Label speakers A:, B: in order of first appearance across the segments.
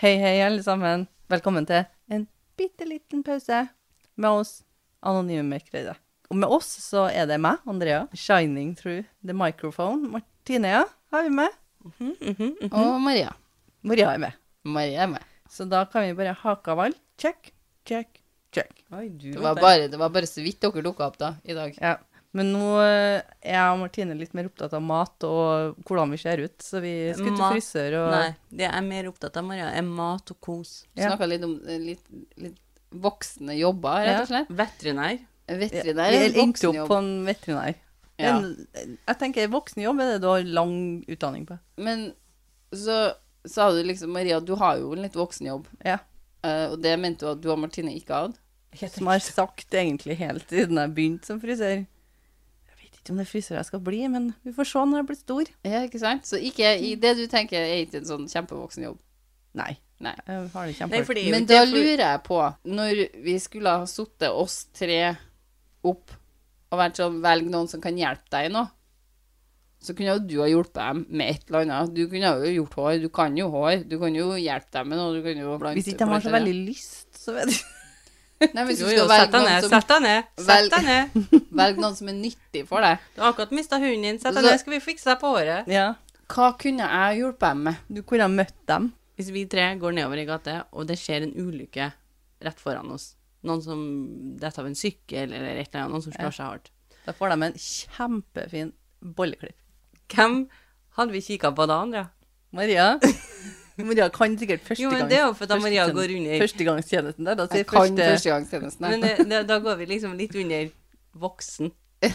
A: Hei, hei, alle sammen. Velkommen til en bitte liten pause med oss anonyme mørkredde. Og med oss så er det meg, Andrea. Shining through the microphone. Martinea har vi med. Mm.
B: Og Maria.
A: Maria er med.
B: Maria er med.
A: Så da kan vi bare hake av alle. Check, check, check. Oi, du
B: Det var bare, det var bare så vidt dere dukka opp da, i dag.
A: Ja. Men nå eh, er jeg og Martine litt mer opptatt av mat og hvordan vi ser ut, så vi skulle til
C: Mat.
A: frisør og
C: Nei, det jeg er mer opptatt av, Maria, er mat og kos.
B: Vi
A: Ja.
B: snakka litt om eh, litt, litt voksne jobber, rett og slett.
C: Veterinær.
B: Veterinær er
A: Vi
B: en
A: endte opp
B: voksenjobb.
A: på en veterinær.
B: Ja.
A: En, jeg tenker voksenjobb er det du har lang utdanning på.
B: Men så sa du liksom Maria, du har jo en litt voksenjobb.
A: Ja.
B: Eh, og det mente du at du og Martine ikke hadde.
A: Som jeg har sagt egentlig helt siden jeg begynte som frisør. Jeg vet ikke om det er frisør jeg skal bli, men vi får se når jeg blir stor.
B: Ja, ikke sant? Så ikke, i
A: Mm.
B: det du tenker, er ikke en sånn kjempevoksenjobb.
A: Nei.
B: Nei.
A: Jeg har det
C: Nei,
A: kjempehardt.
C: fordi
B: Men
C: det
B: da
C: er for-
B: lurer jeg på, når vi skulle ha sittet oss tre opp og vært sånn Velg noen som kan hjelpe deg nå. Så kunne jo du ha hjulpet dem med et eller annet. Du kunne jo gjort hår. Du kan jo hår. Du kan jo hjelpe dem med noe. Du kan jo blande
A: Hvis ikke de har så veldig lyst, så vet jeg
B: Nei, hvis du
C: Jo,
B: skal
C: jo, sett
B: velge
C: deg
B: noen,
C: ned,
B: som,
C: sett deg ned.
B: Vel-
C: Sett deg ned.
B: velg noen som er nyttig for deg.
C: Du har akkurat mista hunden din. Sett deg
B: Så-
C: ned, skal vi fikse deg på håret.
A: Ja.
B: Hva kunne jeg hjulpet dem med?
A: Du kunne ha møtt dem.
C: Hvis vi tre går nedover i gata, og det skjer en ulykke rett foran oss, noen som detter av en sykkel eller et eller annet, noen som slår seg hardt,
A: Da får de en kjempefin bolleklipp.
C: hvem hadde vi kikka på da, Andrea?
A: Maria. Maria kan sikkert første
C: Jo, men
A: gang-
C: det er jo for at da
A: første
C: Maria
A: tjen-
C: går under.
A: Førstegangstjenesten der. Da sier
B: Jeg kan
A: første,
B: førstegangstjenesten.
C: Men
B: her.
C: det, det, da går vi liksom litt under voksen.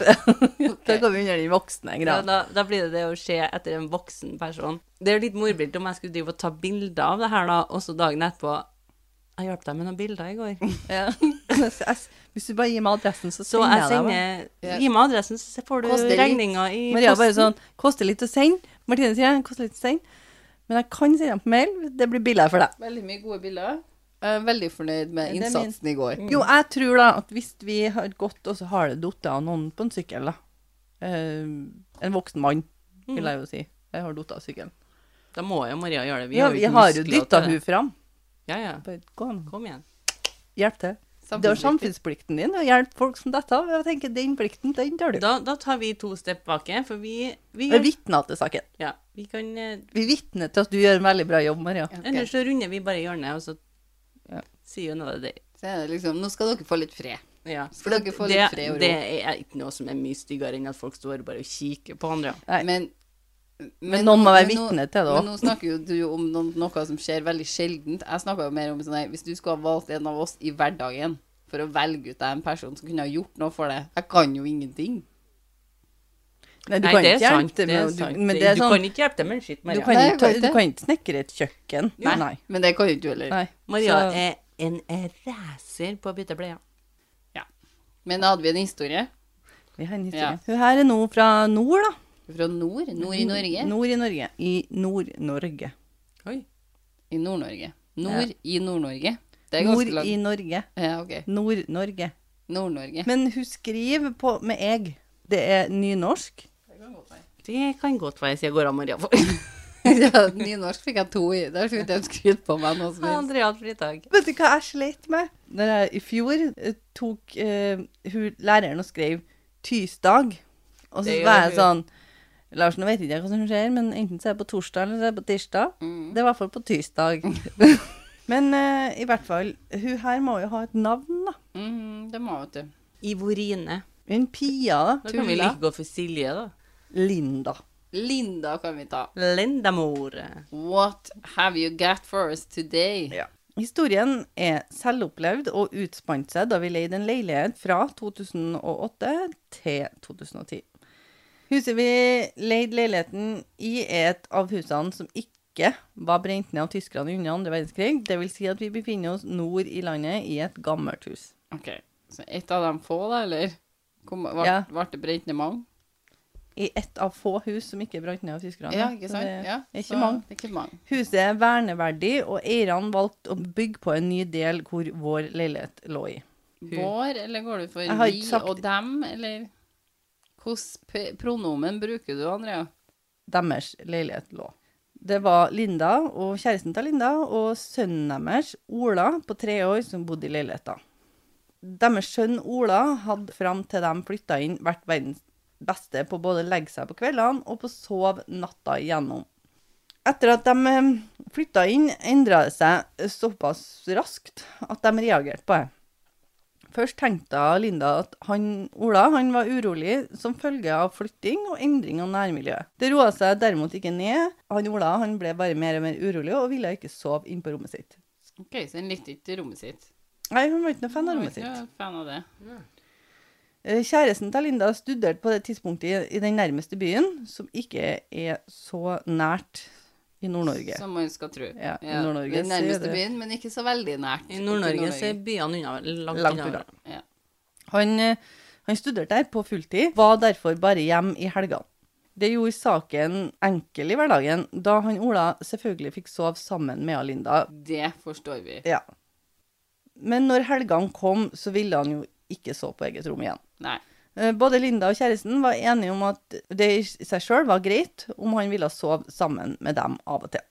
A: Da går vi under de voksne
C: Ja,
A: greiene.
C: da, da blir det det å se etter en voksen person. Det er jo litt morbilt om jeg skulle drive og ta bilder av det her, da, og så dagen etterpå Jeg hjalp deg med noen bilder i går.
A: Ja. Så jeg- Hvis du bare gir meg adressen, så
C: Så jeg
A: sender jeg deg.
C: sender Gi meg adressen, så får du
B: Koster litt.
C: regninga i
A: Maria bare
C: posten.
A: sånn Koster litt å sende. Martine sier det koster litt å sende. Men jeg kan sende dem på mail. Det blir billigere for deg.
B: Veldig mye gode bilder. Jeg er veldig fornøyd
A: Ja, det er
B: med
A: min.
B: innsatsen i går.
C: Mm.
A: Jo, jeg tror da at hvis vi har gått, og så har det datt av noen på en sykkel, da. Eh, en voksen mann,
C: Mm.
A: vil jeg jo si. Jeg har datt av sykkelen.
C: Da må jo Maria gjøre det.
A: Ja, vi har jo
C: muskler
A: dytta hun
C: til det.
A: fram.
C: Ja, ja.
A: Bare Gå an.
C: Kom igjen.
A: Hjelp til. Det er jo samfunnsplikten din å hjelpe folk som detter av. Jeg tenker Den plikten, den tar du.
C: Da, da tar vi to step baki, for vi, vi,
A: Vi er
C: gjør,
A: vitner til saken.
C: ja, vi kan eh,
A: Vi vitner til at du gjør en veldig bra jobb, Maria.
B: Ok.
C: Ellers så runder vi bare hjørnet, og så sier hun noe av det.
B: Så er det liksom Nå skal dere få litt fred.
C: Ja.
B: Skal dere få
C: det,
B: litt fred og ro.
C: det er ikke noe som er mye styggere enn at folk står bare og kikker på andre.
A: Nei.
B: Men,
A: Men noen må være
B: nå-
A: vitne til det også.
B: Men nå snakker jo du om noe, noe som skjer veldig sjeldent. Jeg snakker jo mer om sånn her Hvis du skulle ha valgt en av oss i hverdagen for å velge ut deg en person som kunne ha gjort noe for deg Jeg kan jo ingenting.
A: Nei, du
C: Nei,
A: kan
C: det
A: ikke
C: er
A: hjelpe
C: sant,
A: til
C: det er
A: med
C: sant.
A: du- Men
C: Det-
A: det er
C: du
A: sånn
C: kan ikke hjelpe til med en skitt,
A: Du
C: Maria.
A: kan
B: Nei,
A: ikke,
B: jeg kan
A: du
B: ikke.
A: kan ikke snekre et kjøkken.
B: Nei, eh,
A: Nei.
B: Men det kan jo ikke du heller.
A: Nei.
C: Maria
A: Så-
C: er en racer på å bytte bleier.
B: Men da hadde vi en historie
A: Vi har en historie.
B: Ja.
A: Hun her er nå fra nord, da.
B: fra nord. Nord i Norge.
A: Nord i Norge. I Nord-Norge.
C: Oi.
B: I Nord-Norge. Nord i Nord-Norge. Det er
A: Nord
B: ganske langt.
A: i Norge.
B: Ja, ok.
A: Nord-Norge.
B: Nord-Norge.
A: Men hun skriver på med eg. Det er nynorsk.
C: Det kan godt være, sier går av Maria for.
B: ja, Nynorsk fikk jeg to i. Der skulle ikke de skryte på meg noe som helst.
C: Andrea hadde fritak.
A: Vet du hva jeg slet med? Når jeg i fjor eh, tok eh, hun, læreren og skrev 'Tysdag', og så
C: Det gjør
A: var jeg
C: hun.
A: sånn Lars, nå vet ikke jeg hva som skjer, men enten så er det på torsdag eller så er det på tirsdag.
C: Mm.
A: Det er i hvert fall på tirsdag. men eh, i hvert fall, hun her må jo ha et navn, da.
B: Mm, det må vet du.
C: Ivorine.
A: Hun Pia, da.
C: Da kan vi like godt for Silje, da.
A: Linda.
B: Linda kan vi ta.
C: Lendamor.
B: What have you got for us today?
A: Historien er selvopplevd og utspant seg da vi leide en leilighet fra 2008 til 2010. Huset vi leide leiligheten i er et av husene som ikke var brent ned av tyskerne under andre verdenskrig. Det vil si at vi befinner oss nord i landet i et gammelt hus.
B: Ok, så et av dem få da, eller? Kom, var,
A: Ja.
B: var det brent ned mange?
A: I ett av få hus som ikke brant ned av tyskerne.
B: Ja, ikke
A: Så
B: sant?
A: det
B: Ja,
A: er ikke
B: så
A: mange.
B: Det er ikke mange.
A: Huset er verneverdig, og eierne valgte å bygge på en ny del hvor vår leilighet lå i.
B: Vår, eller går du for
A: Jeg har
B: vi
A: ikke sagt-
B: og dem, eller? Hvordan p- pronomen bruker du, Andrea?
A: Deres leilighet lå. Det var Linda og kjæresten til Linda og sønnen deres, Ola, på tre år, som bodde i leiligheta. Deres sønn Ola hadde fram til de flytta inn, vært verdens beste på både å legge seg på kveldene og på å sove natta igjennom. Etter at de eh, flytta inn, endra det seg såpass raskt at de reagerte på det. Først tenkte Linda at han, Ola han var urolig som følge av flytting og endring av nærmiljøet. Det roa seg derimot ikke ned. Han Ola han ble bare mer og mer urolig og ville ikke sove inne på rommet sitt.
B: Ok, så hun likte ikke rommet sitt.
A: Nei, hun var ikke noe fan av
B: Hun var
A: rommet
B: ikke
A: sitt.
B: noe fan av det.
A: Eh, Kjæresten til Linda studerte på det tidspunktet i i den nærmeste byen, som ikke er så nært i Nord-Norge.
B: Som man skal tro.
A: Ja, i Nord-Norge
B: Den
A: så er
B: nærmeste
A: det-
B: byen, men ikke så veldig nært.
C: I Nord-Norge så er byene unna, langt,
A: Langt
C: unna.
A: unna.
B: Ja.
A: Han, eh, han studerte der på fulltid, var derfor bare hjem i helgene. Det gjorde saken enkel i hverdagen, da han Ola selvfølgelig fikk sove sammen med Linda.
B: Det forstår vi.
A: Ja. Men når helgene kom, så ville han jo ikke sove på eget rom igjen.
B: Nei.
A: Eh, Både Linda og kjæresten var enige om at det i seg sjøl var greit om han ville sove sammen med dem av og til.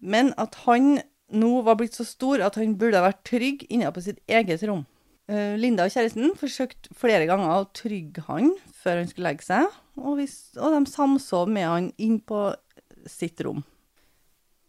A: Men at han nå var blitt så stor at han burde ha vært trygg inne på sitt eget rom. Eh, Linda og kjæresten forsøkte flere ganger å trygge han før han skulle legge seg, og, hvis, og de samsov med han inn på sitt rom.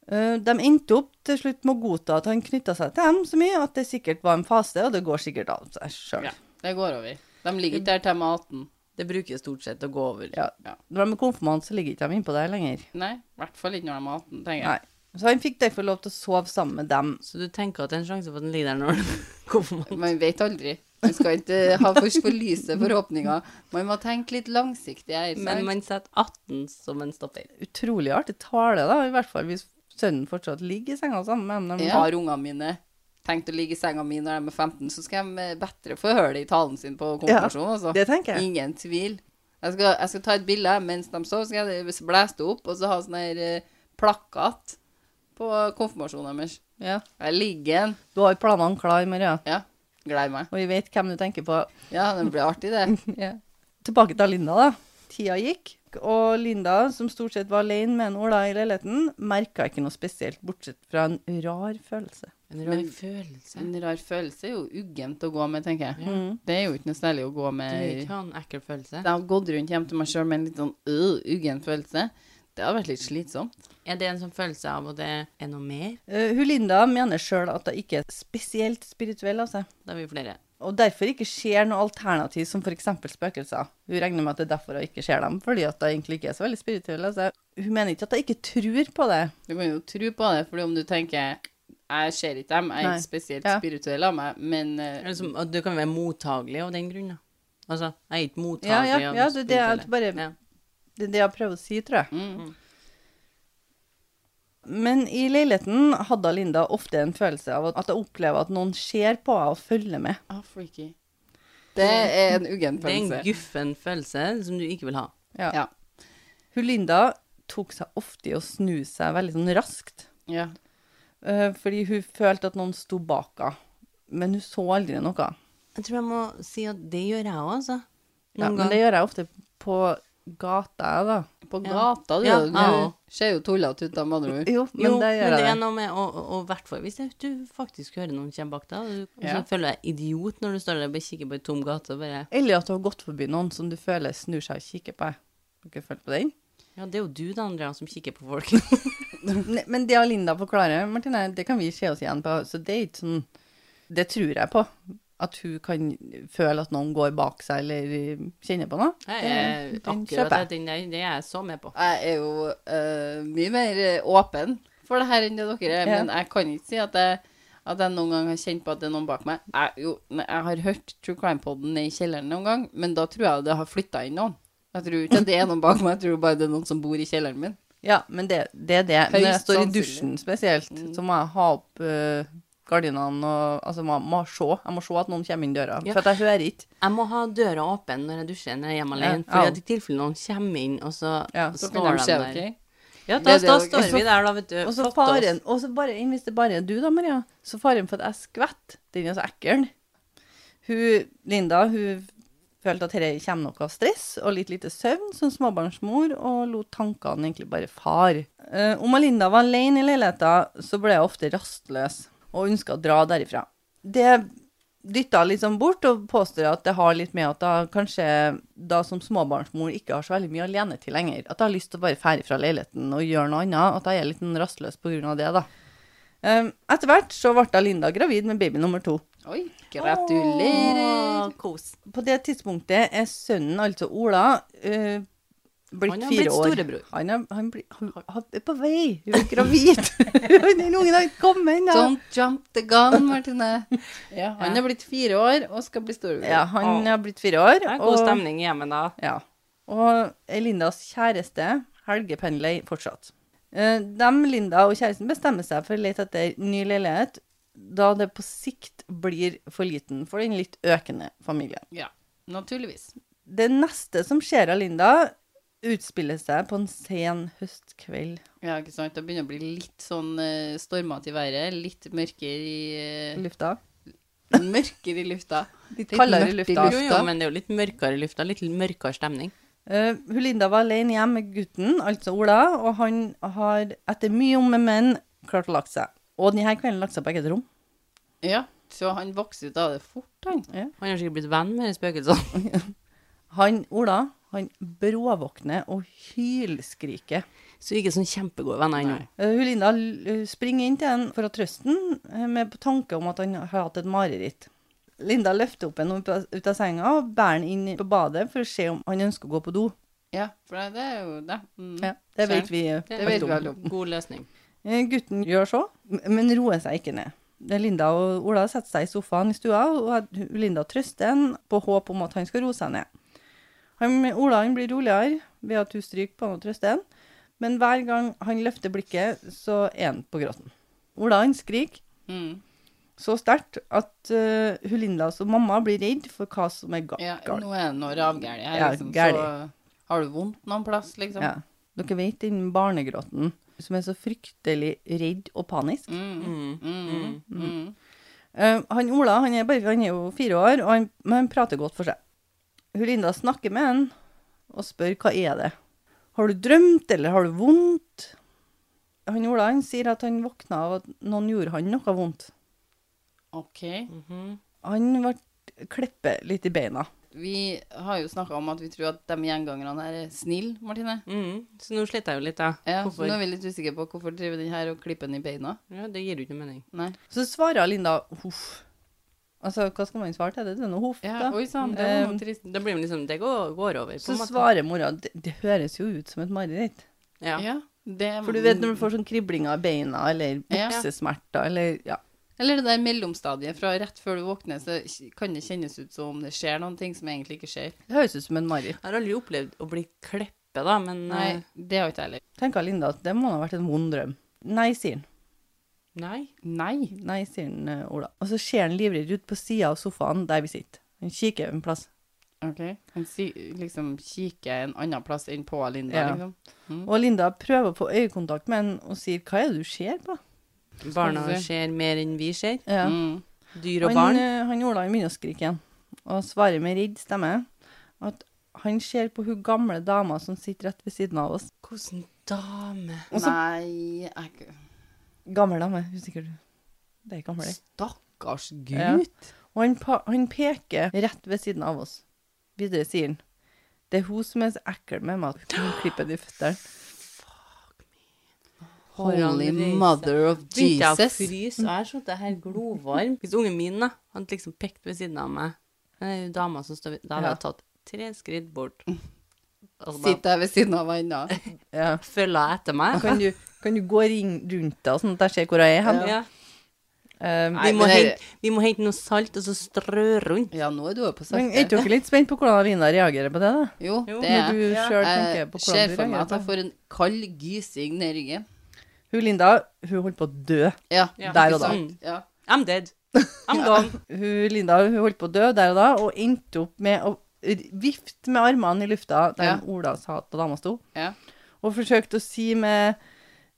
A: Eh, De endte opp til slutt med å godta at han knytta seg til dem så mye at det sikkert var en fase, og det går sikkert av seg sjøl.
B: Ja, det går over. De ligger ikke der til de er 18.
C: Det bruker stort sett å gå over.
A: Ja.
B: Ja.
A: Når de er konfirmant, så ligger ikke de innpå der lenger.
B: Nei, i hvert fall ikke når de er 18, tenker
A: Nei.
B: jeg.
A: Så han fikk derfor lov til å sove sammen med dem.
C: Så du tenker at det er en sjanse for at den ligger der når den kommer?
B: Man vet aldri. Man skal ikke ha for, for lyse forhåpninger. Man må tenke litt langsiktig her. sant?
C: Men man setter 18 som en stopper.
A: Utrolig artig tale, da, i hvert fall hvis sønnen fortsatt ligger i senga sammen med dem. når de
B: Jeg
A: har-
B: har ungene mine tenkt å ligge i senga mi når de er 15, så skal de eh, bedre få høre det i talen sin på konfirmasjon. altså.
A: Det tenker jeg.
B: Ingen tvil. Jeg skal, jeg skal ta et bilde mens de sover, så skal jeg blæse det opp, og så ha sånn her eh, plakat på konfirmasjonen deres.
A: Ja.
B: Jeg ligger en.
A: Du har planene klare, Maria,
B: Ja, gleder meg.
A: og vi vet hvem du tenker på.
B: Ja, det blir artig, det.
A: Ja. Tilbake til Linda, da. Tida gikk, og Linda, som stort sett var alene med en Ola i leiligheten, merka ikke noe spesielt, bortsett fra en rar følelse.
C: En
B: rar
C: følelse.
B: En rar følelse er jo uggent å gå med, tenker jeg.
A: Mm.
B: Det er jo ikke noe særlig å gå
C: Du vil
B: med.
C: ikke ha en ekkel følelse.
B: Jeg har gått rundt hjem til meg sjøl med en litt sånn øh, uggen følelse. Det har vært litt slitsomt.
C: Er det en sånn følelse av at det er noe mer?
A: Eh, hun Linda mener sjøl at hun ikke er spesielt spirituell av seg.
C: Da er vi flere.
A: og derfor ikke ser noe alternativ som f.eks. spøkelser. Hun regner med at det er derfor hun ikke ser dem, fordi at hun egentlig ikke er så veldig spirituell. Altså. Hun mener ikke at hun ikke tror på det.
B: Du kan jo tro på det, for om du tenker jeg ser ikke dem, jeg er
A: Nei.
B: ikke spesielt
A: Ja.
B: spirituell av meg, men eh,
C: Eller som, at du kan være mottagelig av den grunn, da. Altså, jeg er ikke
A: Ja,
C: mottagelig
A: ja,
C: av
A: ja, det er det jeg
C: spirituelle.
A: bare
C: Ja.
A: Det er det jeg prøver å si, tror jeg.
B: mm,
A: Men i leiligheten hadde Linda ofte en følelse av at hun opplever at noen ser på henne og følger med.
B: ah, freaky. Det er en uggen
C: Det er en
B: følelse.
C: guffen følelse som du ikke vil ha.
B: Ja.
A: Hun Linda tok seg ofte i å snu seg veldig sånn raskt,
B: ja.
A: eh, fordi hun følte at noen sto bak henne. Men hun så aldri noe.
C: Jeg tror jeg må si at det gjør jeg òg, altså.
A: Ja,
C: Noen
A: men det
C: ganger.
A: gjør jeg ofte på gata, jeg, da.
B: På
C: Ja.
B: gata, du.
C: Ja,
B: du
C: jeg òg.
B: ser jo tullete ut, da, med andre ord.
A: Jo, men
C: jo,
A: det gjør
C: men det
A: jeg.
C: er noe med å, å, å hvertfall Hvis det, du faktisk hører noen komme bak deg, og du
B: Ja.
C: så føler deg idiot når du står der og bare kikker på ei tom gate og bare
A: Eller at du har gått forbi noen som du føler snur seg og kikker på deg. Har ikke følt på den?
C: Ja, det er jo du, da, Andrea, som kikker på folk.
A: Ne- Men det har Linda forklarer, Martine, det kan vi se oss igjen på. Så det er ikke sånn Det tror jeg på. At hun kan føle at noen går bak seg eller eh, kjenner på noe.
C: Jeg er
A: Den- den
C: akkurat
A: kjøper jeg.
C: den der, det er jeg så med på.
B: Jeg er jo eh, mye mer eh, åpen for det her enn det dere er,
A: Ja.
B: men jeg kan ikke si at jeg, at jeg noen gang har kjent på at det er noen bak meg. Jeg, jo, nei, jeg har hørt True Crime-poden ned i kjelleren noen gang, men da tror jeg det har flytta inn noen. Jeg tror ikke at det er noen bak meg, jeg tror bare det er noen som bor i kjelleren min.
A: Ja, men det, det er det. Når jeg
B: Høyst
A: står i
B: sannsynlig.
A: dusjen spesielt, så må jeg ha opp eh, gardinene og Altså, må, må se. Jeg må se at noen kommer inn døra.
C: Ja.
A: For at jeg hører ikke.
C: Jeg må ha døra åpen når jeg dusjer når jeg er hjemme
A: Ja,
C: alene.
A: ja.
C: For at i tilfelle noen kommer inn, og så
A: Ja,
B: Så
C: står
B: kan de
C: de
B: se
C: der.
B: dere.
C: Ja, da,
B: Det er
C: da
B: det-
C: står vi der, da, vet du.
A: Og så
C: Fatt oss.
A: faren, og så bare, hvis det bare er du da, Maria, så faren for at jeg skvett, den er så ekkel. Hun, Linda, hun Følte at dette kommer nok av stress og litt lite søvn som småbarnsmor, og lot tankene egentlig bare fare. Eh, Om Linda var alene i leiligheten, så ble jeg ofte rastløs og ønska å dra derifra. Det dytta liksom bort og påstår at det har litt med at da kanskje da som småbarnsmor ikke har så veldig mye alene til lenger, at jeg har lyst til å bare fære fra leiligheten og gjøre noe annet, at jeg er litt sånn rastløs på grunn av det, da. Eh, Etter hvert så ble da Linda gravid med baby nummer to.
B: Oi, gratulerer.
C: Åh, kos.
A: På det tidspunktet er sønnen, altså Ola, eh, blitt
C: Han har
A: fire
C: blitt
A: år.
C: storebror.
A: Han er, han blir, han, han er på vei. Hun er gravid. Den ungen har ikke kommet ennå.
C: Sånn.
B: Don't jump the gun, Martine. Ja, han er blitt fire år og skal bli storbror.
A: Ja, han
C: Åh.
A: har blitt fire år.
C: Det er
A: og-
C: god stemning i hjemmet da.
A: Ja. Og er Lindas kjæreste helgependler fortsatt. Eh, Dem, Linda og kjæresten, bestemmer seg for å lete etter ny leilighet, da det på sikt blir for liten for den litt økende familien.
B: Ja, naturligvis.
A: Det neste som skjer av Linda, utspiller seg på en sen høstkveld.
B: Ja, ikke sant? Det begynner å bli litt sånn eh, stormete i været, litt mørkere i,
A: Lufta.
B: eh,
A: Mm.
B: mørkere i lufta.
A: Litt
B: Litt
A: kaldere i
B: mørkt i
A: lufta.
C: Jo, jo,
B: lufta.
C: men det er jo litt mørkere i lufta. Litt mørkere stemning.
A: Eh, hun Linda var alene hjemme med gutten, altså Ola, og han har etter mye om med menn klart å lagt seg. Og denne kvelden lagt seg på eget rom.
B: Ja, så han vokser ut av det fort, han.
C: Han har sikkert blitt venn med de spøkelsene.
A: Han, Ola, han bråvåkner og hylskriker.
C: Så ikke sånn kjempegode venner ennå.
B: Nei.
A: Eh, hun Linda l- springer inn til han for å trøste han, eh, med tanke om at han har hatt et mareritt. Linda løfter opp henne opp av- ut av senga og bærer han inn på badet for å se om han ønsker å gå på do.
B: Ja, for det er jo det. Mm.
A: Ja, det vet
B: Skjønner.
A: vi. eh,
B: Det vet vi
A: alt
B: alle
A: om.
B: om.
C: God løsning.
A: Eh, Gutten gjør så, m- men roer seg ikke ned. Det er Linda og Ola setter seg i sofaen i stua, og at hun- Linda trøster han på håp om at han skal roe seg ned. Han, Ola han blir roligere ved at hun stryker på han og trøster han, men hver gang han løfter blikket, så er han på gråten. Ola han skriker
B: Mm.
A: så sterkt at eh, hun Linda som mamma blir redd for hva som er ga-
B: Ja,
A: galt.
B: nå er det noe ravgærlig her,
A: Ja,
B: liksom.
A: gærlig.
B: Så har du vondt noen plass, liksom?
A: Ja. Dere vet den barnegråten som er så fryktelig redd og panisk?
B: Mm. Mm. Mm.
A: Eh, han Ola han er, bare, han er jo fire år, og han, men han prater godt for seg. Hun Linda snakker med han og spør hva er det. Har du drømt, eller har du vondt? Han Ola han sier at han våkna av at noen gjorde han noe vondt.
B: Ok.
C: Mhm,
A: Han ble klippet litt i beina.
B: Vi har jo snakka om at vi tror at de gjengangerne her er snille, Martine.
C: Mhm. Så nå sliter jeg jo litt, da.
B: Ja, så
C: Hvorfor?
B: nå er vi litt usikre på hvorfor driver den her og klipper den i beina.
C: Ja, det gir jo ikke mening.
B: Nei.
A: Så svarer Linda huff. Altså, hva skal man svare til det? Det er noe huff,
B: Ja,
A: da.
B: oi sann, det var
A: Um,
B: noe trist.
C: Det blir jo liksom Det går, går over, på
A: Så
C: en måte.
A: svarer mora det, det høres jo ut som et mareritt.
C: Ja.
B: Ja, det
A: For du vet når du får sånn kriblinger i beina, eller
B: Ja.
A: buksesmerter, eller ja.
B: Eller det der mellomstadiet fra rett før du våkner, så kan det kjennes ut som om det skjer noen ting som egentlig ikke skjer.
A: Det høres ut som en mareritt.
C: Jeg har aldri opplevd å bli kleppe, da, men
B: Nei,
C: eh,
B: det har ikke jeg heller.
A: tenker Linda at det må ha vært en vond drøm. Nei, sier han.
C: Nei.
B: Nei.
A: Nei, sier han, eh, Ola. Og så ser han livredd ut på sida av sofaen der vi sitter. Han kikker en plass.
B: Ok. Han si, liksom kikker en annen plass enn på Linda,
A: Ja.
B: liksom.
A: Og Linda prøver å få øyekontakt med han og sier 'hva er det du ser på'?
C: Barna
B: Skal vi se.
C: ser mer enn vi ser.
A: Ja.
B: Mm.
C: Dyr og
A: Han,
C: barn.
A: eh, han Ola han begynner å skrike igjen, og svarer med redd stemme at han ser på hun gamle dama som sitter rett ved siden av oss.
C: Hvordan dame
A: Og så-
B: Nei, jeg
A: Gammel dame, hun er sikkert. Det er gammel, det.
B: Stakkars gud.
A: Ja. Og han, pa han peker rett ved siden av oss. Videre sier han Det er hun som er så ekkel med meg at hun klipper de føttene.
B: Holy
C: Holy
B: mother of
C: Begynte jeg å
B: Jesus.
C: fryse, og jeg satt her glovarm. Hvis ungen min da, hadde liksom pekt ved siden av meg, men det er jo dama som står ved Da hadde
A: Ja.
C: jeg tatt tre skritt bort.
B: Mm.
C: Altså, bare
B: Sitter jeg ved siden av henne.
A: Ja.
C: følger jeg etter meg.
A: Kan du, kan du gå ring rundt deg, sånn at jeg ser hvor jeg er hen?
C: Ja.
A: Um,
C: Vi,
B: Nei,
C: må
B: men det-
C: hente, vi må hente noe salt og så strø rundt.
B: Ja, nå er du jo på
A: men er
B: sakte.
A: ikke dere litt spent på hvordan Lina reagerer på det? da?
B: Jo,
C: Jo,
B: det
A: Når
B: er
A: du
B: jeg.
A: selv tenker på
B: Jeg ser
A: hvordan du
B: for meg
A: reagerer
B: at jeg
A: på det.
B: får en kald gysing ned i ryggen.
A: Hun Linda hun holdt på å dø.
B: Ja,
C: Ja.
A: Der
B: ikke
A: og da.
B: sant? Ja.
C: I'm dead. I'm gone.
A: Hun Linda hun holdt på å dø der og da, og endte opp med å vifte med armene i lufta der
B: Ja.
A: Ola sa at dama sto,
B: Ja.
A: og forsøkte å si med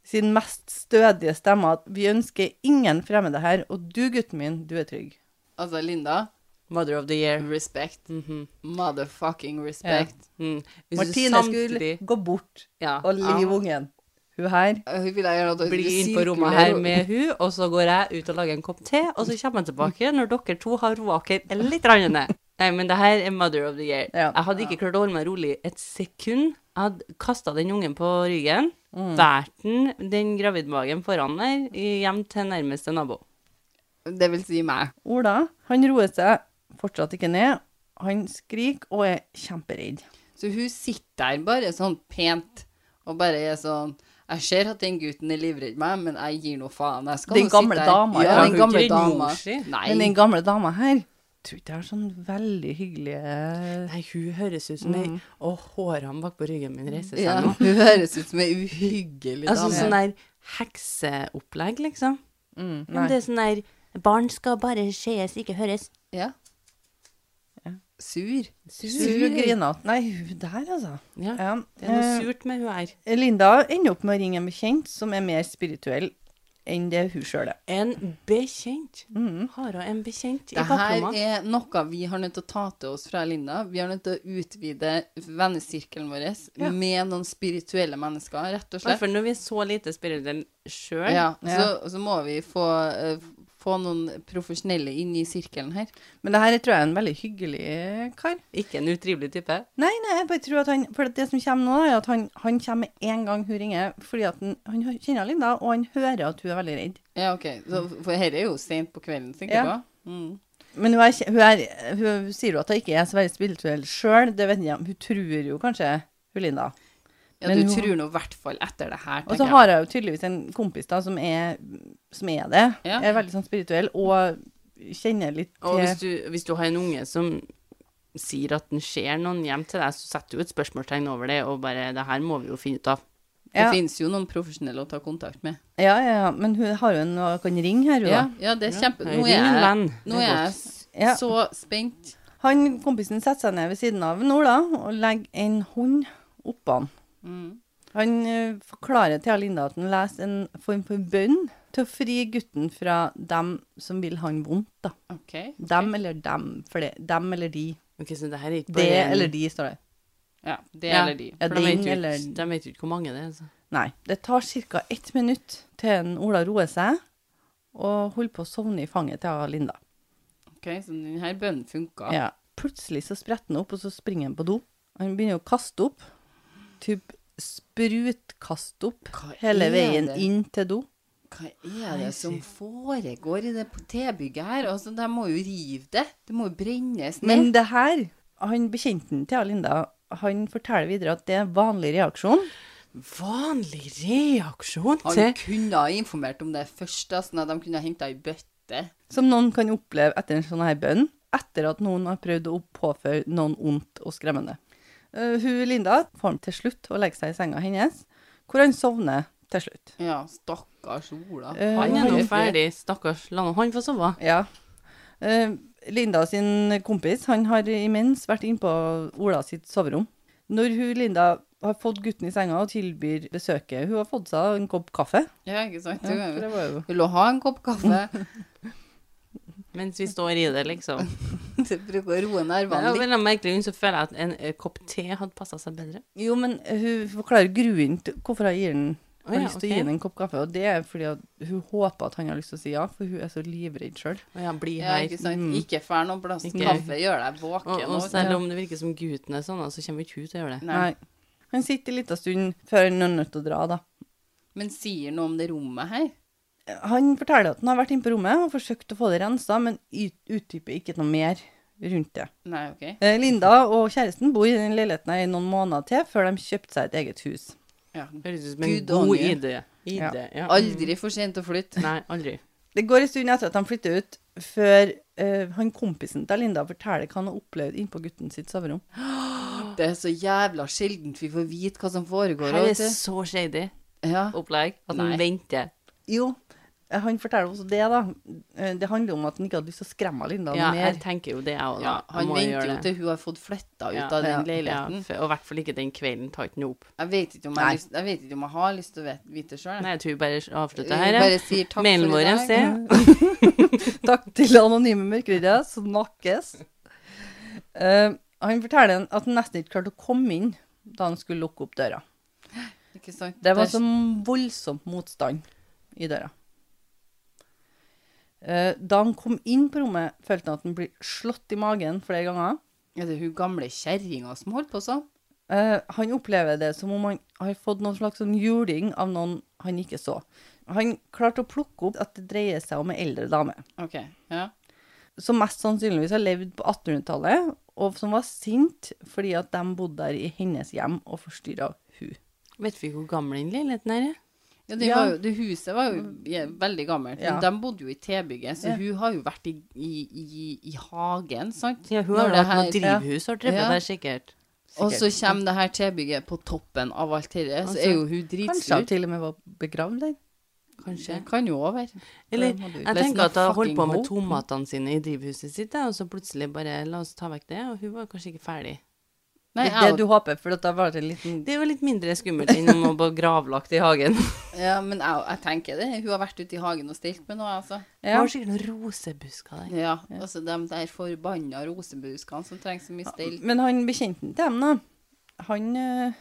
A: sin mest stødige stemme at vi ønsker ingen fremmede her, og du, gutten min, du er trygg.
B: Altså, Linda,
C: Mother of the year.
B: Respect.
C: Mhm.
B: Motherfucking respect.
C: Mm. Hvis du
A: Martine skulle
C: samtidig-
A: gå bort
C: ja.
A: og live
B: Ja.
A: ungen. Hun her.
B: Eh, Hun ville gjerne at dere
C: bli inn på
B: sirkulerer
C: rommet her
B: og-
C: med hun, og så går jeg ut og lager en kopp te, og så kommer jeg tilbake når dere to har roaket litt rann ned. Nei, men det her er mother of the year.
A: Ja.
C: Jeg hadde ikke klart å holde meg rolig et sekund. Jeg hadde kasta den ungen på ryggen,
B: Mm.
C: båret den, den gravidmagen foran der, hjem til nærmeste nabo.
B: Det vil si meg.
A: Ola, han roer seg fortsatt ikke ned. Han skriker og er kjemperedd.
B: Så hun sitter der bare sånn pent og bare er sånn Jeg ser at den gutten er livredd meg, men jeg gir nå faen. Jeg skal
A: Den
B: nå
A: gamle
B: sitte her.
A: dama,
B: ja.
A: ja.
B: den
C: Hun
B: gamle
C: er ikke redd
B: dama.
C: mor si.
B: Nei.
A: Men den gamle dama her tror ikke jeg har sånn veldig hyggelige
C: Nei, hun høres ut som ei Og hårene bak på ryggen min reiser seg
B: Mm. ja,
C: nå.
B: hun høres ut som ei uhyggelig
C: Altså
B: dame.
C: sånn der hekseopplegg, liksom. Ja, men
A: Mm, nei.
C: Det er sånn der Barn skal bare sees, ikke høres.
B: ja.
A: Ja.
B: Sur.
A: Sur og grinete. Nei, hun der, altså.
C: Ja,
A: Ja.
C: Det er noe
A: Eh,
C: surt med hun her.
A: Linda ender opp med å ringe en bekjent som er mer spirituell enn det hun sjøl er.
C: En bekjent. Har hun en bekjent i
B: Det her
C: baklomma?
B: er noe vi har nødt til å ta til oss fra Linda. Vi har nødt til å utvide vennesirkelen vår
A: Ja.
B: med noen spirituelle mennesker, rett og
C: I hvert
B: slett.
C: fall når vi er så lite spirituelle sjøl.
B: Ja,
A: Ja.
B: Så, så må vi få, eh, få noen profesjonelle inn i sirkelen her.
A: Men det her tror jeg er en veldig hyggelig kar.
C: Ikke en utrivelig type.
A: Nei, nei, jeg bare tror at han For det som kommer nå, er at han, han kommer med en gang hun ringer, fordi at han, han hø- kjenner Linda, og han hører at hun er veldig redd.
B: Ja, ok. Så, for dette er jo sent på kvelden, tenker
A: Ja.
B: jeg på. Mm.
A: Men hun, er, kje- hun, er, hun sier jo at hun ikke er så veldig spirituell sjøl, det vet jeg, hun tror jo kanskje hun Linda.
B: Ja,
A: Men
B: du
A: hun-
B: tror nå i hvert fall etter det her,
A: Og så
B: tenker jeg.
A: har jeg jo tydeligvis en kompis da, som er, som er det.
B: Ja.
A: Er veldig sånn spirituell og kjenner litt
C: Og hvis
A: til
C: du, hvis du har en unge som sier at den ser noen hjem til deg, så setter du et spørsmålstegn over det, og bare Det her må vi jo finne ut av.
B: Det
A: ja,
B: finnes jo noen profesjonelle å ta kontakt med.
A: ja, ja, ja, men hun har jo en og kan ringe her, hun
B: Ja,
A: da.
B: ja det er kjempe...
C: Ring
B: Nå er
C: en
B: jeg,
C: venn.
B: nå
C: Det
B: er
C: er godt.
B: jeg s-
A: Ja.
B: så spent.
A: Han kompisen setter seg ned ved siden av Ola og legger en hånd oppå han.
B: Mm.
A: Han eh, forklarer til Linda at han leser en form for bønn til å fri gutten fra dem som vil han vondt, da.
B: Ok.
A: Dem eller dem, for det. Dem eller de.
C: Ok, så det her er ikke
A: Det
C: bare en-
A: eller de, står det.
B: Ja, det
C: Ja.
B: eller de.
A: Ja,
C: For de vet
A: den
C: jo
A: eller-
C: ikke- de vet jo ikke hvor mange det er. Altså.
A: Nei. Det tar ca. ett minutt til en Ola roer seg og holder på å sovne i fanget til han Linda.
B: Ok, så denne bønnen funka.
A: Ja. Plutselig så spretter han opp, og så springer han på do. Han begynner å kaste opp. Typ sprutkaste opp
B: Hva
A: hele
B: er
A: veien
B: det?
A: inn til do.
B: Hva er det som foregår i det T-bygget her? Altså, de må jo rive det. Det må jo brennes ned.
A: Men det her, han bekjenten til han Linda, han forteller videre at det er en vanlig reaksjon.
C: Vanlig reaksjon
B: Han
C: til
B: kunne ha informert om det først, da, sånn at de kunne ha henta ei bøtte.
A: som noen kan oppleve etter en sånn her bønn, etter at noen har prøvd å påføre noen ondt og skremmende. Eh, hun Linda får ham til slutt å legge seg i senga hennes, hvor han sovner til slutt.
B: Ja, stakkars Ola.
A: Eh,
C: Han er nå ferdig, stakkars. La nå han få sove.
A: Ja. Eh, Linda sin kompis han har imens vært innpå Ola sitt soverom. Når hun Linda har fått gutten i senga og tilbyr besøket Hun har fått seg en kopp kaffe.
B: Ja, ikke sant?
A: Ja, for det var jo
B: Vil du ha en kopp kaffe?
C: Mens vi står i det, liksom.
B: Det bruker å roe nervene
C: Ja,
B: litt.
C: men av en merkelig grunn så føler jeg at en eh, kopp te hadde passa seg bedre.
A: Jo, men hun forklarer grunnen til hvorfor hun gir den.
C: Å
A: Har
C: ja,
A: lyst til
C: ok.
A: å gi henne en kopp kaffe, og det er fordi at hun håper at han har lyst til å si ja, for hun er så livredd sjøl.
C: Å ja, bli
B: Ja,
C: her.
B: ikke sant?
C: Mm.
B: Ikke fær noen plass.
C: Ikke-
B: Kaffe gjør deg
C: Og,
B: våken.
C: og
B: også.
C: selv om det virker som gutten er sånn, da, så kommer ikke hun til å gjøre det.
B: Nei.
A: Han sitter en liten stund før han er nødt til å dra, da.
B: Men sier noe om det rommet her?
A: Han forteller at han har vært inne på rommet og forsøkt å få det rensa, men y- utdyper ikke noe mer rundt det.
B: Nei, OK.
A: Eh, Linda og kjæresten bor i den leiligheten her i noen måneder til før de kjøpte seg et eget hus.
B: Ja.
C: Høres ut som en
B: Gud
C: god
B: onge.
C: idé.
A: Ja.
C: idé. Ja. Mm.
B: Aldri for sent å flytte.
C: Nei, aldri.
A: Det går en stund etter at han flytter ut, før eh, han kompisen til Linda forteller hva han har opplevd innpå gutten sitt soverom.
B: Det er så jævla sjeldent vi får vite hva som foregår.
C: Her er
B: vet du.
C: så shady
B: Ja.
C: opplegg at
B: Nei.
C: han venter.
A: Jo, Eh, Han forteller også det, da. Eh, Det handler om at han ikke hadde lyst til å skremme Linda
C: Ja, jeg
A: mer.
C: tenker jo det, jeg òg.
B: Ja, han venter jo til hun har fått flytta ut
C: Ja,
B: av den
A: ja,
B: leiligheten.
C: Og i hvert fall ikke den kvelden tar ikke noe opp.
B: Jeg vet ikke om jeg,
A: Nei.
B: har lyst, jeg, vet ikke om jeg har lyst til å vet- vite sjøl.
C: Nei, jeg tror vi bare avslutter her.
B: Bare
C: jeg.
B: sier takk
C: Mailen
B: for
C: vår
B: i dag.
C: se.
A: Takk til Anonyme Mørkeredde. Snakkes. Eh, han forteller at han nesten ikke klarte å komme inn da han skulle lukke opp døra.
B: Ikke sant?
A: Det var sånn- så
B: Der-
A: voldsomt motstand i døra. Eh, Da han kom inn på rommet, følte han at han ble slått i magen flere ganger.
B: Er det hun gamle kjerringa som holdt på sånn?
A: Eh, Han opplever det som om han har fått noen slags sånn juling av noen han ikke så. Han klarte å plukke opp at det dreier seg om ei eldre dame,
B: OK. Ja.
A: som mest sannsynligvis har levd på 1800-tallet, og som var sint fordi at de bodde der i hennes hjem og forstyrra hun.
C: Vet vi hvor gammel den leiligheten er?
B: Ja, det,
A: Ja.
B: Var jo, det huset var jo ja, veldig gammelt.
A: Ja.
B: De bodde jo i T-bygget, så
A: Ja.
B: hun har jo vært i, i, i, i hagen, sant?
C: Ja, hun
B: Når
C: har
B: det
C: hatt noe
B: her-
C: drivhus og drevet
B: Ja.
C: der, sikkert.
B: Og så
C: Sikkert.
B: kommer det her T-bygget på toppen av alt dette, så
C: Altså,
B: er jo hun
A: Kanskje hun
B: dritsur.
A: til og med var begravd der.
B: Det
C: Kanskje.
B: kan jo òg være.
C: Eller
A: må du
C: jeg
B: Let's
C: tenker
B: not
C: at hun holdt på
B: fucking
C: med
B: hope.
C: tomatene sine i drivhuset sitt, da, og så plutselig bare la oss ta vekk det, og hun var kanskje ikke ferdig.
B: Nei,
A: det er
B: jeg,
A: det du håper, for at det har vært en liten
C: Det er jo litt mindre skummelt enn om hun var gravlagt i hagen.
B: ja, men jeg, jeg tenker det. Hun har vært ute i hagen og stelt med noe, altså.
C: Hun
A: ja.
C: har sikkert noen rosebusker der.
B: Ja, altså de der forbanna rosebuskene som trenger så mye stell.
A: Men han bekjenten til dem, da, han, eh,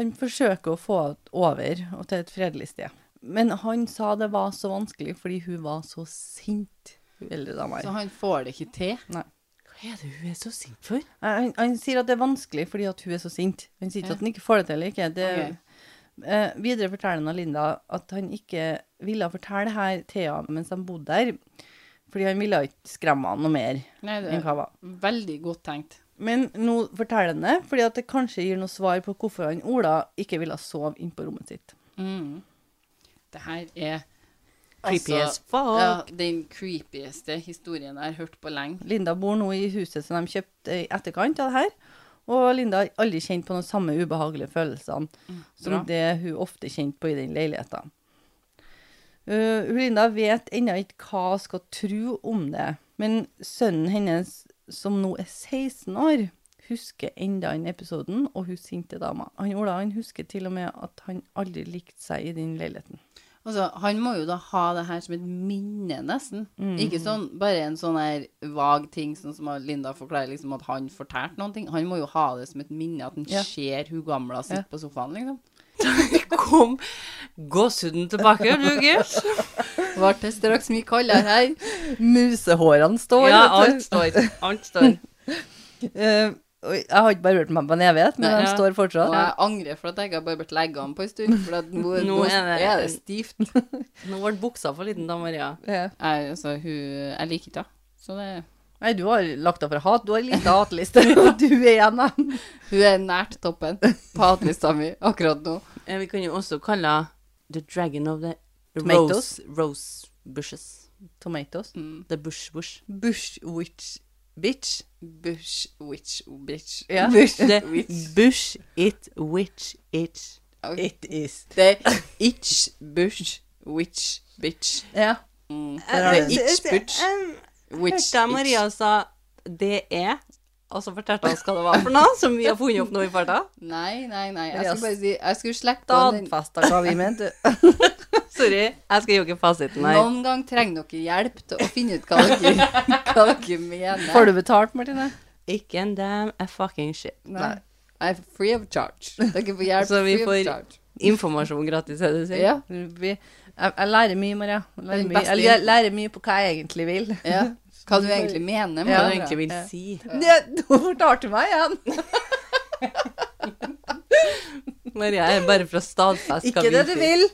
A: han forsøker å få det over og til et fredelig sted. Men han sa det var så vanskelig fordi hun var så sint. hun Eldre dama.
B: Så
A: her.
B: han får det ikke til.
C: Hva er det hun er så sint for?
A: Eh, Han, han, han sier at det er vanskelig fordi at hun er så sint. Han sier
B: Ja.
A: ikke at han ikke får det til eller ikke. Det,
B: Ok.
A: eh, videre forteller han av Linda at han ikke ville fortelle det her til henne mens han bodde der, fordi han ville ikke skremme henne noe mer
B: Nei, det
A: enn hva
B: er
A: hun var.
B: veldig godt tenkt.
A: Men nå forteller han det, fordi at det kanskje gir noe svar på hvorfor han Ola ikke ville sove inne på rommet sitt.
B: Mm. Det her er altså,
A: Altså,
C: Creepy as fuck.
B: ja, den creepieste historien jeg har hørt på lenge.
A: Linda bor nå i huset som de kjøpte i etterkant av det her, og Linda har aldri kjent på de samme ubehagelige følelsene som
B: bra.
A: det hun ofte kjente på i den leiligheten. Uh, hun Linda vet ennå ikke hva hun skal tro om det, men sønnen hennes, som nå er 16 år, husker enda den episoden, og hun sinte dama. Han Ola han husker til og med at han aldri likte seg i den leiligheten.
B: Altså, han må jo da ha det her som et minne, nesten. Ikke sånn, bare en sånn her vag ting, sånn som Linda forklarer, liksom at han fortalte noen ting. Han må jo ha det som et minne, at han
A: Ja.
B: ser hun gamla sitte
A: Ja.
B: på sofaen, liksom.
C: Kom gåsehuden tilbake, gjør du ikke?
B: Ble det straks mye kaldere her?
A: Musehårene står.
C: Ja,
A: vet du.
C: alt står. Alt står.
A: Eh, og jeg har ikke bare hørt meg på en evighet, men
C: Nei,
A: de
C: ja.
A: står
B: Og
A: fortsatt.
B: jeg angrer for at jeg ikke har barbert leggene på en stund, for at nå, nå, er, det, stivt.
C: Nå ble buksa for liten, da, Maria.
A: Ja.
B: Jeg, altså, hun, jeg liker ikke henne. Så det
A: Nei, du har lagt deg for hat. Du har en liten hatliste, og du er en av dem.
B: Hun er nært toppen på hatlista mi akkurat nå.
C: Eh, Vi kan jo også kalle henne The Dragon of the
A: Tomatoes.
C: Rose, rose Bushes.
A: Tomatoes.
B: Mm.
C: The Bush Bush.
A: Bush witch bitch.
B: Bush, witch, Oh, bitch.
A: Ja.
B: Bush,
C: The
B: witch.
C: Bush It Witch It.
B: Ok.
A: It is.
B: Det er itch, bush, witch, bitch.
A: Ja.
B: Mm. Det
A: har du
B: er itch, bitch, witch,
C: Hørte jeg Maria
B: itch.
C: sa det er, og så fortalte hun hva det var for noe som vi har funnet opp nå i farta.
B: Nei, nei, nei. Jeg
A: Maria
B: skulle bare si Jeg skulle slekte på den.
A: Stadfesta hva vi mente.
C: Sorry, jeg skal jogge fasiten her.
B: Noen gang trenger dere hjelp til å finne ut hva dere, hva dere mener.
A: Får du betalt, Martine?
C: Ikke en damn a fucking shit.
B: Nei. Jeg er free of charge. Dere får hjelp
C: Så vi
B: free
C: får-
B: of charge.
C: Informasjon gratis, er det du sier?
B: Ja.
A: Vi, jeg, jeg lærer mye, Maria. Jeg lærer
B: Den
A: mye,
B: beste
A: eller jeg lærer mye på hva jeg egentlig vil.
B: ja. Hva du egentlig mener.
C: Hva du
B: med det.
C: egentlig vil
A: Ja.
C: si.
A: Det, nå fortalte du meg igjen.
C: Maria er bare for å stadfeste hva
A: Ikke det du
C: sier.
A: vil.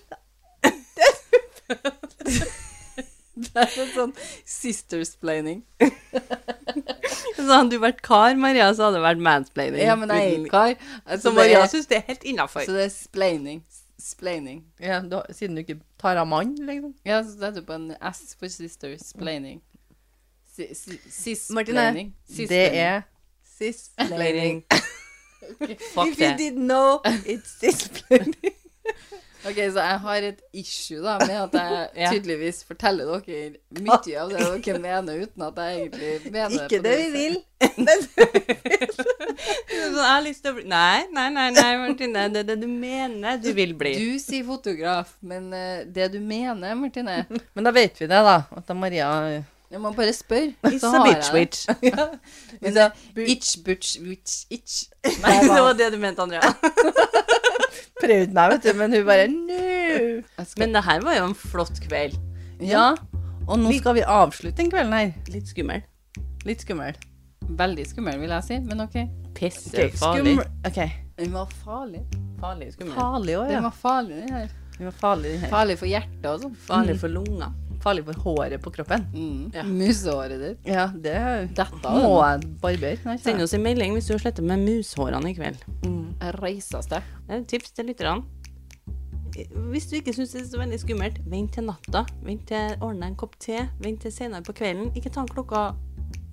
C: Det er en sånn sistersplaining. så hadde du vært kar, Maria, så hadde det vært mansplaining.
B: Ja, men jeg er
C: Uten-
B: ikke kar. Altså,
C: Så Maria
B: det,
C: syns det er helt
B: er- så
C: innafor.
B: det er splaining. Splaining.
A: Ja, da, siden du ikke tar av mann, liksom.
B: Ja, så setter du på en S for sister. Splaining. Si- si- Sis-splaining.
A: Martine, Det
B: Sis-splaining.
A: er cis-planning.
C: Fuck det.
A: didn't know, it's cis-planning.
B: Ok, så jeg har et issue da, med at jeg
C: Ja.
B: tydeligvis forteller dere mye av det dere mener, uten at jeg egentlig mener
A: Ikke det
B: på
A: vi
B: viset.
A: vil.
C: Sånn, jeg har lyst til å bli Nei, nei, nei, nei Martine. Det er det du mener du vil bli.
B: Du sier fotograf, men eh, det du mener, Martine
A: Men da vet vi det, da. At da Maria
B: Når man bare spør,
C: It's
B: så
C: a
B: har jeg
C: bitch
B: det.
C: witch.
B: Men det er itch, butch, witch, itch. Nei,
C: Det
B: hva?
C: var det du mente, Andrea.
A: prøvde meg, vet du, men hun bare no.
B: Jeg skal-
C: Men det her var jo en flott kveld.
A: Ja. Og nå skal vi avslutte den kvelden her.
C: Litt skummel.
A: Litt skummel.
B: Veldig skummel, vil jeg si, men OK.
C: Pissefarlig.
A: OK.
B: Den var farlig.
C: Farlig skummel.
A: Farlig òg,
B: Den
A: ja.
B: var farlig, den her.
A: Den var farlig, den her.
B: Farlig for hjertet og sånn.
C: Farlig for lunga.
A: Farlig for håret på kroppen.
B: Mm.
C: Ja.
B: Musehåret ditt.
A: Ja, det
B: Dette av
A: må
B: den.
A: jeg barbere. Nei,
C: Send
A: ikke sant?
C: oss en melding hvis du har slettet med mushårene i kveld.
B: Jeg reiser sted.
C: Det er et tips til lytterne. Hvis du ikke syns det er så veldig skummelt, vent til natta. Vent til ordne en kopp te. Vent til senere på kvelden. Ikke ta den klokka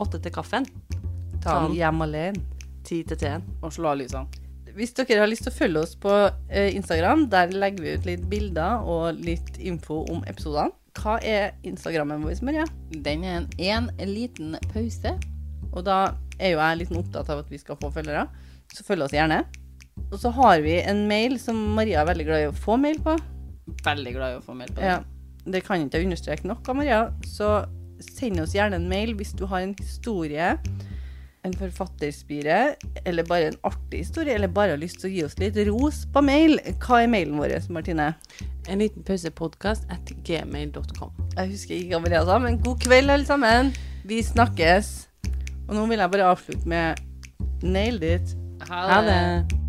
C: åtte til kaffen.
A: Ta den liksom. hjem alene.
C: Ti til teen.
B: Og slå av lysene.
A: Hvis dere har lyst til å følge oss på eh, Instagram, der legger vi ut litt bilder og litt info om episodene. Hva er Instagrammen vår, Maria?
B: Den er en, en liten pause.
A: Og da er jo jeg litt opptatt av at vi skal få følgere, så følg oss gjerne. Og så har vi en mail som Maria er veldig glad i å få mail på.
B: Veldig glad i å få meld på det.
A: Ja, det kan ikke jeg understreke nok, Maria. Så send oss gjerne en mail hvis du har en historie, en forfatterspire, eller bare en artig historie, eller bare har lyst til å gi oss litt ros på mail. Hva er mailen vår, Martine?
C: En liten pausepodkast at gmail.com.
A: Jeg husker ikke hva Maria sa, men god kveld, alle sammen. Vi snakkes. Og nå vil jeg bare avslutte med Nailed it.
B: Ha
C: Ha det.